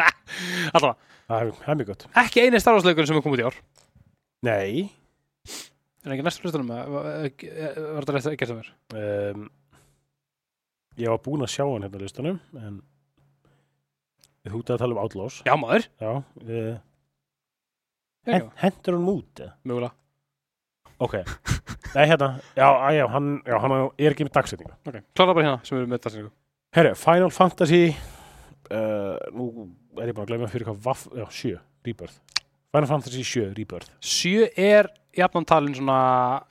S1: Allá,
S2: Það er, það er mjög gott.
S1: ekki eini starfásleikur sem er komið í ár
S2: Nei.
S1: Er ekki næstu hlustunum eða var var þetta rétt að gera það mér?
S2: um, ég var búinn að sjá hann hérna á listanum en þú ert að tala um Outlaws
S1: Já maður,
S2: já, uh,
S1: Já, já,
S2: hendur hann út eða?
S1: mögulega
S2: ok, nei hérna já, á, já, hann, já, hann er ekki með dagsetningu
S1: Ok, klára bara hérna sem við erum með þetta
S2: Herru, Final Fantasy uh, Nú er ég bara að glemja fyrir hvað vaff, Já, sjö, Rebirth Final Fantasy 7 Rebirth
S1: 7 er jafnan talin svona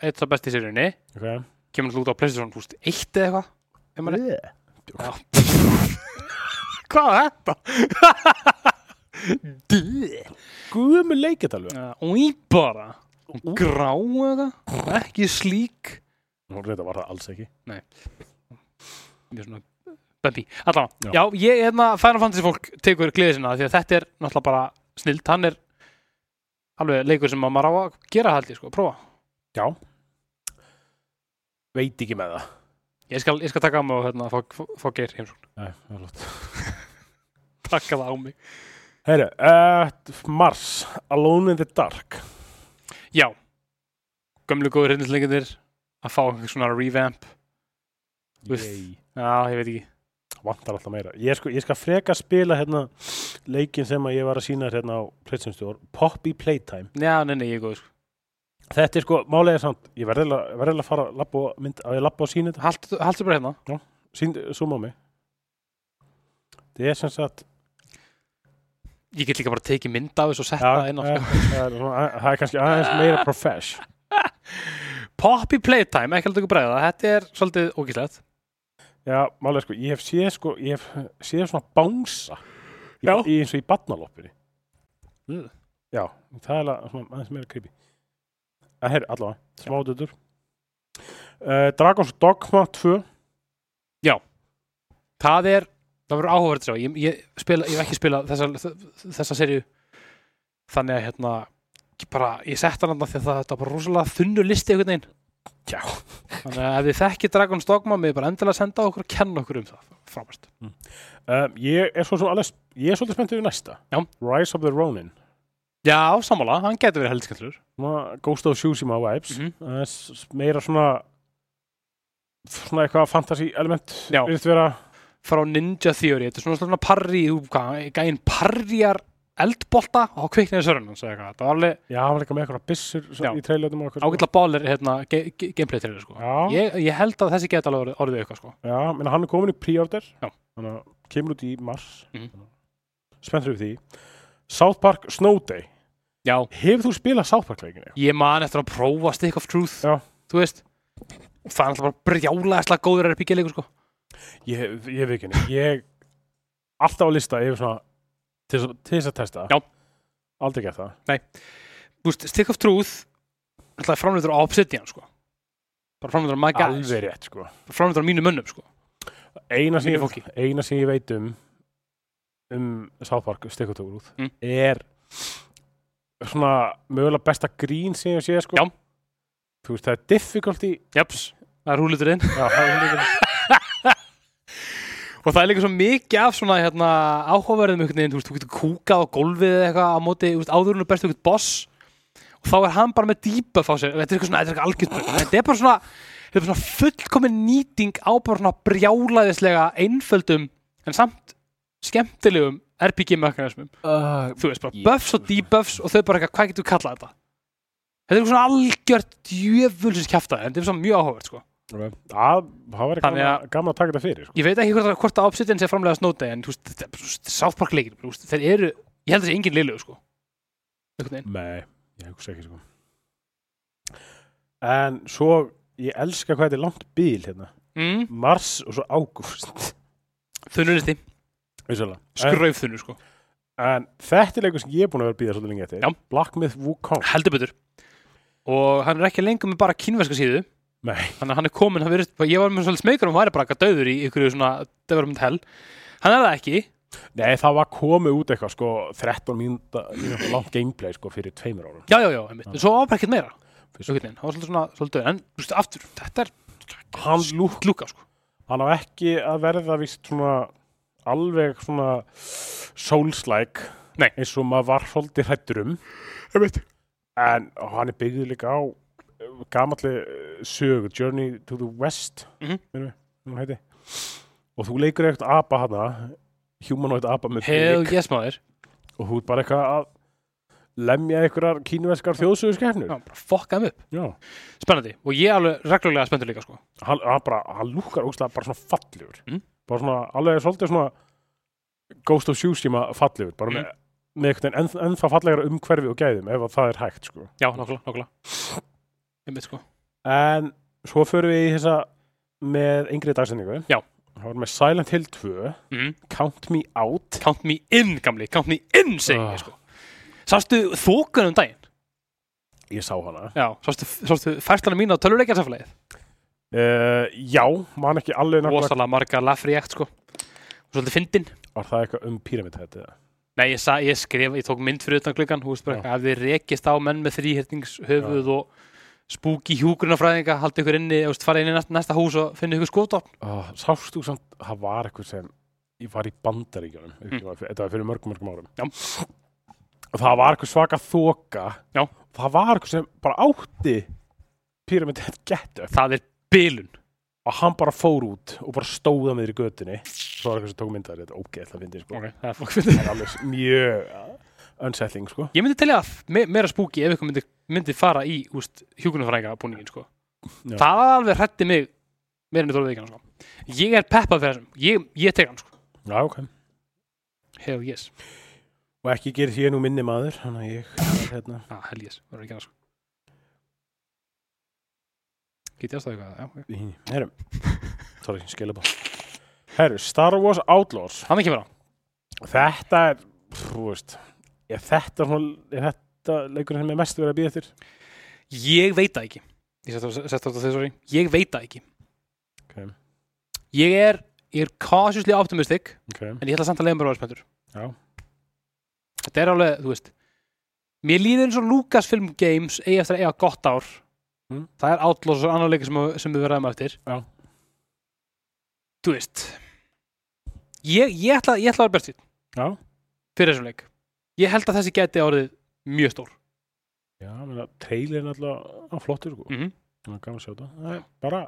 S1: eitt af besti seriunni
S2: okay.
S1: kemur alltaf út á Playstation Plus 1 eða eitthvað ef maður
S2: yeah.
S1: Já. Hvað er þetta?
S2: Guðum er leikið alveg
S1: Úi bara Grá eða Ekki slík
S2: Nú reynda var það alls ekki
S1: Mjög svona Bambi Allan
S2: Já.
S1: Já, ég hérna Final Fantasy fólk tekur gleði sinna Því að þetta er náttúrulega bara snild Hann er alveg leikur sem að maður á að gera haldi sko, prófa
S2: Já Veit ekki með það
S1: Ég skal, ég skal taka á mig og hérna, fá, fá, fá geir heimsókn
S2: Nei, það er lott
S1: Taka það á mig
S2: Herru, uh, Mars Alone in the Dark
S1: Já Gömlu góður hreinlislinginir að fá einhvers svona revamp Uff.
S2: Yay.
S1: Já, ég veit ekki
S2: vantar alltaf meira ég, sko, ég skal freka spila hérna leikin sem að ég var að sína hérna á Playstation Store, Poppy Playtime
S1: Já, nei, nei, ég er góð sko.
S2: þetta er sko, málega er samt ég verði að fara að labba og mynd, að ég labba og sína þetta
S1: Haltu, haltu bara hérna
S2: sín, suma á mig þetta er sem sagt
S1: Ég get líka bara tekið mynd af þessu og sett
S2: ja,
S1: það inn á sko.
S2: eh, það er svona- eh, það er kannski aðeins meira profesh
S1: Poppy Playtime, ekki heldur ekki bregða Þetta er svolítið ógíslegt
S2: já, málega sko, ég hef séð sko ég hef séð svona bánsa í,
S1: Já.
S2: í, eins og í badnaloppinni
S1: Mm.
S2: já, það er alveg svona aðeins meira creepy að herri, allavega, smá dötur uh, Dragons Dogma 2
S1: Það er, það verður áhugavert að sjá Ég, ég, spila, ég hef ekki spilað þessa, þessa serju Þannig að hérna ég bara, ég sett hann þarna því að það þetta var bara rosalega þunnu listi einhvern veginn
S2: já,
S1: Þannig að ef þið þekkið Dragon's Dogma mig bara endilega senda okkur og kenna okkur um það frábært.
S2: um, ég er svo sem alveg ég er svolítið spennt yfir næsta
S1: Já.
S2: Rise of the Ronin
S1: Já, sammála, hann getur verið heldiskendlur
S2: Svona Ghost of Tsushima vibes mm
S1: Mhm.
S2: meira svona svona eitthvað fantasy element
S1: Já.
S2: virðist vera
S1: frá Ninja Theory þetta er svona svona parri, þú hvað, gæinn parriar eldbolta og þá kviknaði sörun hans eða eitthvað, það var alveg
S2: já, hann var líka með eitthvað byssur
S1: Já.
S2: í treylutum og eitthvað
S1: ágætla bálir hérna, ge ge gameplay trailer sko.
S2: já,
S1: ég, ég held að þessi geta alveg orðið- orðið eitthvað sko.
S2: já, menna hann er komin í pre-order
S1: Já.
S2: þannig að kemur út í mars
S1: Mhm.
S2: spenntur yfir því South Park Snow Day
S1: já,
S2: Hefur þú spilað South Park leikinu?
S1: ég man eftir að prófa Stick of Truth
S2: Já.
S1: þú veist það er alltaf bara brjálega slag góður RPG leikur sko.
S2: Ég, hef- ég hef ekki henni. Ég alltaf á lista yfir svona til, þess- til þess að testa.
S1: Já.
S2: Aldrei gert það.
S1: Þú veist, Stick of Truth alltaf er framleitur á Obsidian sko. bara framleitur á Maga
S2: Alveg rétt, sko.
S1: framleitur á mínu mönnum sko.
S2: Eina sem,
S1: Mínu
S2: ég,
S1: fólki.
S2: eina sem ég veit um um South Park stikkutókur út
S1: Mm.
S2: er svona mögulega besta grín sem ég sé, sko.
S1: Já.
S2: Þú veist, það er difficulty.
S1: Japs, það er húluturinn
S2: Já, það er líka-
S1: og það er líka svo mikið af svona hérna, áhugaverðum einhvern veginn, þú veist, þú getur kúkað á gólfið eða eitthvað á móti, þú veist, áður hún er best eitthvað boss og þá er hann bara með dýpa á sér, þetta er eitthvað svona, þetta er eitthvað algjörn þetta er bara svona, þetta er bara svona fullkomin nýting á bara svona brjálaðislega einföldum, en samt skemmtilegum RPG mekanismum, þú veist, bara
S2: Ég-
S1: buffs og debuffs og þau bara eitthvað, hvað getur við kallað þetta þetta er eitthvað svona algjört djöfulsins kjaftaði, en þetta er svona mjög áhugavert, sko.
S2: Það það væri
S1: Þannig
S2: gaman,
S1: að-
S2: að... gaman að taka þetta fyrir, sko.
S1: ég veit ekki hvort, hvort að Obsidian sé framlega snóta en þú veist, þetta er bara, þú veist, South Park leikir þú veist, þeir eru, ég held að það sé engin liðlegu sko einhvern veginn,
S2: Nei, ég hugsa ekki sko En svo ég elska hvað þetta er langt bíl hérna
S1: mm,
S2: Mars og svo ágúst
S1: þunnulisti,
S2: en,
S1: skraufþunnu sko
S2: en þetta er leikur sem ég er búin að vera að býða svolítið lengi eftir
S1: Já.
S2: Black Myth Wukong
S1: heldur betur og hann er ekki lengur með bara kínverska síðu
S2: Nei,
S1: þannig að hann er komin, hann verið, ég var með svolítið smegur og hann væri bara eitthvað döður í ykkur svona development hell, hann er það ekki
S2: Nei það var komið út eitthvað sko 13 mínúta mínúta langt gameplay sko fyrir tveimur árum
S1: já, já, já, einmitt, en svo var bara ekkert meira
S2: Fyrst.
S1: einhvern veginn, hann var svolítið svona, svolítið döður en, þú veist, aftur, þetta er
S2: Hann, lú,
S1: klúka sko,
S2: hann á ekki að verða víst svona alveg svona souls-like
S1: Nei.
S2: eins og maður var svolítið hrættur um
S1: einmitt
S2: en hann er byggður líka á uh, gamalli uh, sögu Journey to the West
S1: Mhm.
S2: minnum við, hún heiti og þú leikur eitthvað apa hana humanoid apa með
S1: hell
S2: blik
S1: yes maður,
S2: og þú er bara eitthvað að lemja einhverjar kínveskar
S1: já,
S2: þjóðsöguskefnur
S1: bara fokkaðum upp
S2: Já.
S1: spennandi, og ég er alveg reglulega spenntur líka sko
S2: Hann, hann bara, hann lúkar ógstlega bara svona fallegur
S1: Mm.
S2: bara svona alveg svolítið svona Ghost of Tsushima fallegur bara með,
S1: Mm.
S2: með einhvern veginn enn, ennþá fallegra umhverfi og gæðum ef að það er hægt sko.
S1: Já, nokkulega, nokkulega Einmitt sko
S2: en svo förum við í þessa með yngri dagsendingu
S1: Já.
S2: það var með Silent Hill 2
S1: mm.
S2: Count Me Out
S1: Count me in, gamli, count me in, segi
S2: Ah.
S1: ég sko Sástu þókunum daginn
S2: Ah, ég sá hana
S1: Já, sástu, sástu færslanum mín á töluleikjarsafleið
S2: uh, já, man ekki alveg nákvæmlega
S1: Rosalega marga lafri ekt sko Og Svolítið fyndin
S2: var það eitthvað um píramidhætti eða?
S1: Nei, ég, sa, ég skrif, ég tók mynd fyrir utan klukkan, hú veist bara,
S2: Já.
S1: eitthvað, hafði rekist á menn með þrýhyrtingshöfuð og spúki hjúgrunafræðinga, haldið ykkur inni, þú veist, farið inn í næsta, næsta hús og finnið ykkur skotopn.
S2: Ah, sást þú samt, það var eitthvað sem ég var í bandaríkjunum ef ekki var- þetta var fyrir mörgum mörgum árum
S1: Mm. Já.
S2: og það var eitthvað svaka þoka
S1: Já.
S2: það var eitthvað sem bara átti Pyramid Head Get Up
S1: Það er bilun.
S2: og hann bara fór út og bara stóða með þér í götunni svo var eitthvað sem tók myndaðir þetta ógeðla fyndið sko.
S1: Það er fólk fyrir.
S2: það er alveg mjög unsettling sko.
S1: Ég myndi telja að me meira spúki ef ykkur myndi, myndi fara í, hú veist, hjúgrunafræðinga búningin, sko.
S2: Já.
S1: Það alveg hrætti mig meira enn í tólið ekki, sko. Ég er peppað fyrir þessum. Ég, ég tek hann, sko.
S2: Já, okay.
S1: Hell yes.
S2: og ekki gerir því ég nú minni maður þannig að ég hérna.
S1: Ah, hell yes. Verður ekki hann, sko. Get ég aðstæða eitthvað? Já, ok.
S2: Herum, sorry, skilabá Herru, Star Wars Outlaws
S1: Hann kemur á.
S2: Þetta er, þú veist, er þetta, svona, er þetta leikurinn sem er mest verið að býða eftir?
S1: Ég veit það ekki Ég sett á- sett á þetta þessari Ég veit það ekki
S2: Ok,
S1: Ég er, ég er cautiously optimistic
S2: ok.
S1: En ég ætla samt að leiða mér að vera spenntur
S2: Já.
S1: Þetta er alveg, þú veist Mér líður eins og Lucasfilm Games eigi eftir að eiga gott ár
S2: Mm.
S1: Það er Outlaws og annar leikir sem, sem við verðum eftir
S2: Já.
S1: Þú veist Ég, ég, ætla, ég ætla að vera bestið
S2: Já.
S1: Fyrir þessum leik Ég held að þessi geti orðið mjög stór
S2: Já, menna, trailerin alltaf á flottur, sko.
S1: mm -hmm.
S2: Það er gaman að sjá þetta. Það er bara,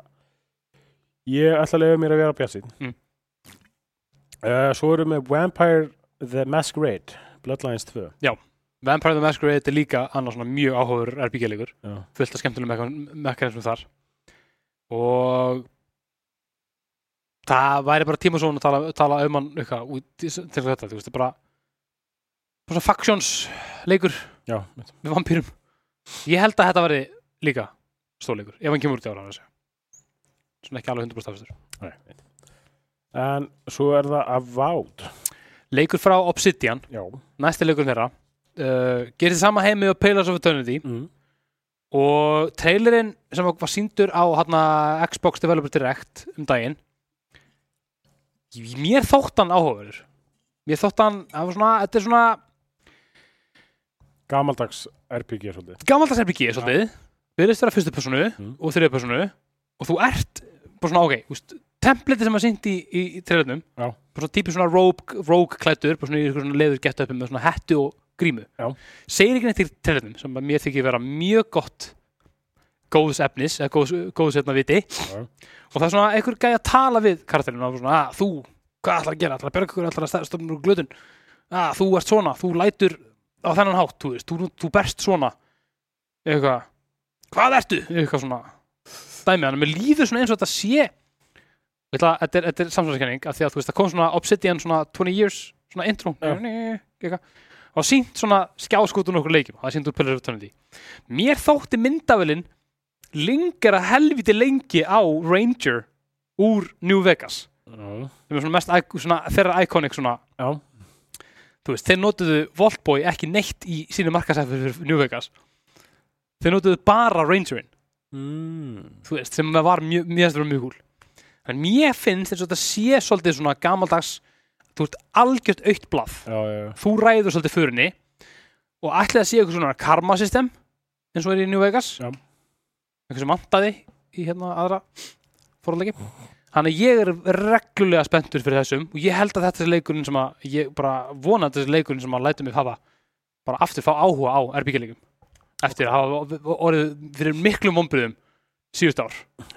S2: ég ætla að leiða mér að vera bjassið.
S1: Mm.
S2: Uh, svo erum við Vampire the Masquerade, Bloodlines 2.
S1: Vampire the Masquerade er líka annars svona mjög áhugur RPG-leikur
S2: Já.
S1: fullt af skemmtilegum mekanismum þar og það væri bara tíma svona að tala, tala um hann eitthvað út í- til þetta, þú veist, það er bara bara svona factions leikur
S2: Já, mitt.
S1: með vampýrum ég held að þetta væri líka stórleikur, ef hann kemur út í ára svona ekki alveg 100% afstur
S2: En svo er það Avowed.
S1: leikur frá Obsidian,
S2: Já.
S1: næsti leikur þeirra uh, gerir þið sama heimi og Pillars of Eternity
S2: Mm.
S1: og trailerinn sem var síndur á hana, Xbox Developer Direct um daginn mér þótt hann áhugaverður mér þótt hann, það var svona, þetta er svona
S2: Gamaldags RPG svolítið.
S1: gamaldags RPG svolítið, byrðist vera fyrstu personu
S2: Mm.
S1: og þriðu personu og þú ert bara svona, ok, úst, templitið sem var sínt í, í, í trailernum
S2: Já.
S1: bara svona típi svona rogue, rogue klættur bara svona í ykkur svona leður gett uppi með svona hettu og grímu
S2: Já.
S1: segir ekki neitt í trailernum sem að mér þykir vera mjög gott góðs efnis, eða góðs, góðs hérna viti
S2: Já.
S1: og það er svona einhver gæði að tala við karakterinu og svona að þú, hvað ætlar að gera, ætlar að berga ykkur, ætlar að stofna úr glöðun að "Ah, þú ert svona, þú lætur á þennan hátt, þú veist, þú, þú berst svona eitthvað hvað ertu, eitthvað svona dæmi hann, mér líður svona eins og þetta sé Ég ætla, að- þetta er, þetta er samsvæðiskenning af því að þú veist, það kom svona Obsidian svona 20 years, svona intro
S2: Já.
S1: eitthvað, og sínt svona skjáskotun okkur leikjum, það er sínt úr Pillars of Eternity mér þótti myndavölin lengra helviti lengi á Ranger úr New Vegas
S2: Já.
S1: sem er svona mest ic- svona, þeirra iconic svona
S2: Já.
S1: þú veist, þeir notuðu Voltboy ekki neitt í sínu markasæfi fyrir New Vegas þeir notuðu bara Rangerinn
S2: Mm.
S1: þú veist, sem var mjög, mjög, mjög, mjög húl en mér finnst eins og þetta sé svolítið svona gamaldags þú veist, algjört aukt blað
S2: Já, já, já.
S1: þú ræður svolítið förinni og ætlið að sé eitthvað svona karma system eins og er í New Vegas
S2: Já.
S1: eitthvað sem vantaði í hérna aðra fórhaldegi þannig að ég er reglulega spenntur fyrir þessum og ég held að þetta er leikurinn sem að ég bara vona að þetta er leikurinn sem að læta mig hafa bara aftur fá áhuga á RBG-leikum eftir að hafa orðið fyrir miklum vombriðum síðust ár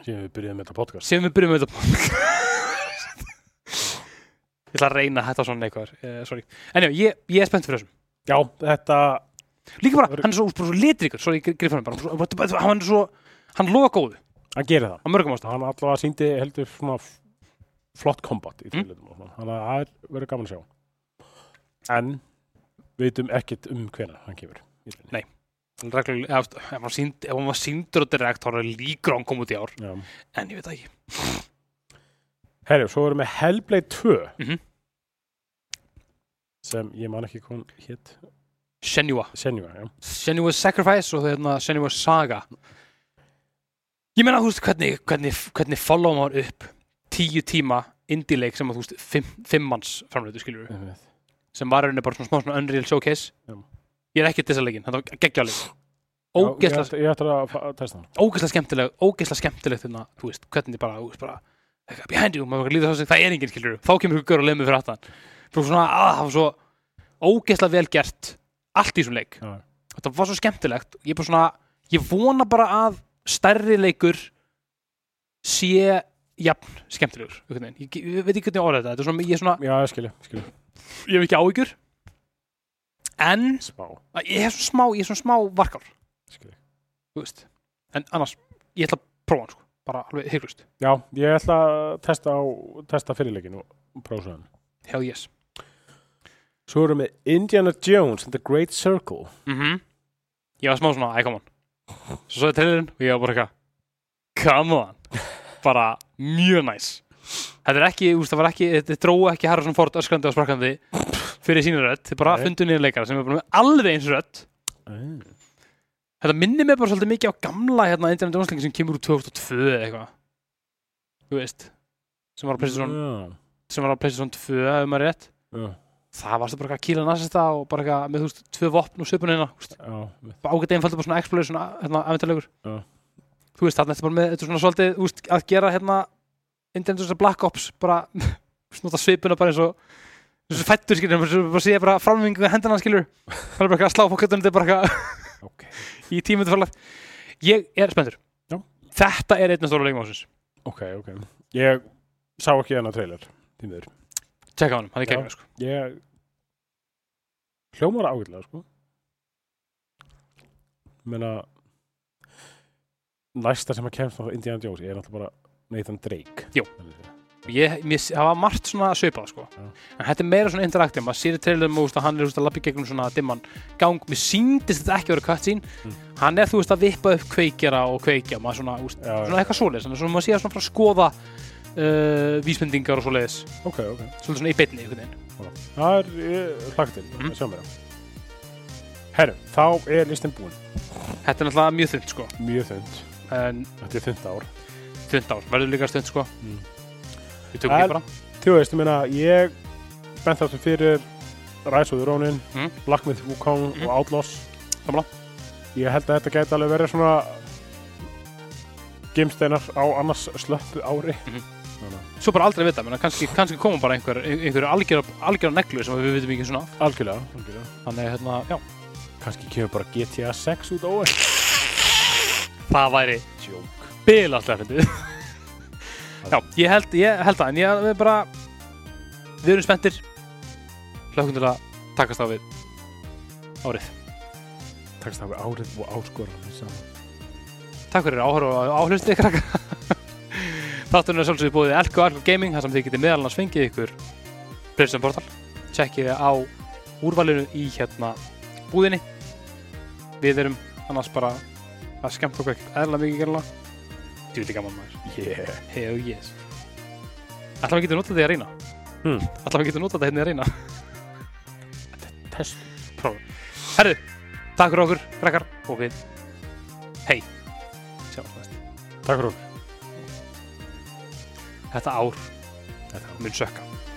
S2: Síðan við byrjuðum með þetta podcast.
S1: sem við byrjum með þetta podcast ég ætla að reyna að hætta svona eitthvað uh, sorry, en já, ég, ég er spennt fyrir þessum
S2: Já, þetta,
S1: líka bara,
S2: Það er-
S1: hann er svo, bara svo litrikur sorry, ég grif hann bara, Hann er svo- bara- bara- hann er svo hann lofa góðu,
S2: hann gerir það.
S1: á mörgum ástæðum
S2: hann allavega síndi heldur svona f- flott kombat í trílutum mm. þannig að það er verið gaman að sjá en veitum ekkert um hvena hann kemur í rauninni.
S1: Nei. Regluleg, ef, ef hann sýnd- ef hann var síndur og direkt þá er það líkur á hann kom út í ár
S2: Já.
S1: en ég veit það ekki
S2: Herjum, svo erum við Hellblade 2
S1: Mhm.
S2: sem ég man ekki hvað hún hétt
S1: Senua,
S2: Senua, já
S1: Senua Sacrifice og það hérna Senua Saga ég meina þú veist hvernig hvernig, hvernig follow maður upp tíu tíma indie-leik sem að þú veist fimm, fimm manns framleitu skilur
S2: Einmitt.
S1: sem var í rauninni bara svona smá svona Unreal Showcase
S2: Já.
S1: ég er ekki þessa leikin, þetta var geggja leikin
S2: Já,
S1: ógeðslega
S2: Ég ætla- ég ætla að fa- að testa hann
S1: ógeðslega skemmtileg ógeðslega skemmtilegt þarna, þú veist, hvernig þið bara, þú veist, bara eitthvað behind you, maður líður þess að það er enginn skilur þá kemur ykkur gaur og lemur fyrir aftan þú svona, að það var svo ógeðslega vel gert allt í þessum leik
S2: Já.
S1: þetta var svo skemmtilegt, ég bara svona ég vona bara að stærri leikur sé jafn skemmtilegur, einhvern veginn. ég, ég veit ekki hvernig ég orða þetta þetta er svona, ég er svona,
S2: Já, ég skilja, skilja
S1: ég hef ekki áhyggjur en
S2: Spá,
S1: ég hef svona smá, ég hef svona smá varkar
S2: skilja
S1: þú veist, en annars ég ætla að prófa hann sko, bara alveg hygglust
S2: Já, ég ætla að testa, á, testa fyrirleikin og prósa hann
S1: Hell yes
S2: Svo erum við Indiana Jones and the Great Circle
S1: mm Ég var smá svona, æ, come on Svo svo ég trailerinn og ég var bara eitthvað Come on Bara mjög næs Þetta er ekki, úst, það var ekki, þetta drói ekki Harrison Ford öskrandi og sprakkandi fyrir sínu rödd, þið bara
S2: Nei.
S1: fundu niður leikara sem er bara með alveg eins rödd
S2: mm.
S1: Þetta minnir mig bara svolítið mikið á gamla hérna Indiana Jones leikin sem kemur úr 2002 eða eitthvað Þú veist sem var á Playstation,
S2: Já,
S1: sem var á Playstation 2 ef maður er rétt
S2: já,
S1: Það varstu bara eitthvað að kýla nasista og bara eitthvað með þú veist, tvö vopn og söpunina, þú veist
S2: já einmitt.
S1: ágætt einfaldur bara svona exploration hérna, aðvendarlegur
S2: Já.
S1: þú veist, þarna ertu bara með þetta er svona svolítið úst, að gera hérna Indiana Jones and Black Ops bara snúta svipuna bara eins og eins og fættur skilur, bara, bara sé bara framvingu hendana skilur, það er bara eitthvað að slá fokkutunum þetta er bara eitthvað
S2: Ok,
S1: í tímundu farlega ég er spenntur
S2: Já.
S1: þetta er einn af stóra leikum ásins
S2: ok, ok Ég sá ekki hennar trailer Því miður
S1: tjekka á hann, hann er
S2: Já.
S1: gegn sko.
S2: Ég hljómar ágætlega sko Menna Næsta sem að kemst á Indiana Jones Ég er náttúrulega bara Nathan Drake
S1: Jú. ég, mér, það var margt svona svipað sko.
S2: Já.
S1: en þetta er meira svona interaktiv maður sér í trailerum og úst, að hann er úst, að lappi gegnum svona dimman gang, mér síndist þetta ekki að vera cutscene
S2: Mm.
S1: hann er þú veist að vippa upp kveikjara og kveikja maður svona, úst,
S2: Já, já.
S1: svona eitthvað svoleiðis þannig að svona maður sé að svona fara að skoða uh, vísbendingar og svoleiðis
S2: Ok, ok
S1: svolítið svona í beinni einhvern veginn
S2: Það er ég, hlagt til
S1: Mm.
S2: Sjá mér á Herru, þá er listin búin
S1: þetta er náttúrulega mjög þund sko
S2: Mjög þund
S1: en
S2: Þetta er þund ár
S1: þund ár, verður líka þund sko
S2: Mm.
S1: við tökum
S2: En-
S1: því bara
S2: Þú veist, ég meina Ég bent þáttum fyrir Rise of the Ronin
S1: Mm.
S2: Black Myth Wukong
S1: Mm.
S2: og Outlaws
S1: Sammála.
S2: Ég held að þetta gæti alveg verið svona Gimsteinar á annars slöppu ári
S1: Mhm.
S2: Þannig að-
S1: svo bara aldrei vita, menna, kannski, kannski koma bara einhver, einhver algjör, algjör neglu sem við vitum ekki svona af.
S2: Algjörlega, algjörlega
S1: þannig að, hérna, já,
S2: Kanski kemur bara GTA 6 út á óvæl
S1: það væri
S2: Jók
S1: bil alltaf fyndið Já, ég held, ég held það en ég við bara við erum spenntir hlökkum til að takast á við árið.
S2: Takst það við árið og áskoran saman
S1: Takk fyrir áhörðu og áhlustið krakkar Þátturinn er sjálfsögðu búið Elko Elko Gaming þar sem þið getið meðal annars fengið ykkur Playstation Portal tjekkið á úrvalinu í hérna búðinni Við erum annars bara að skemmta okkur ekkert eðla mikið gerðilega Djúli gaman maður
S2: Yeah
S1: Hell yes Ætlaðum við getum notað því að reyna
S2: Hmm.
S1: Ætlaðum við getum notað því hérna að reyna
S2: Test
S1: Prófa Herðu, takk fyrir okkur, krakkar og við Hei Sjáumst næst
S2: Takk fyrir okkur.
S1: Þetta ár
S2: Þetta var
S1: mun sökka
S2: Já.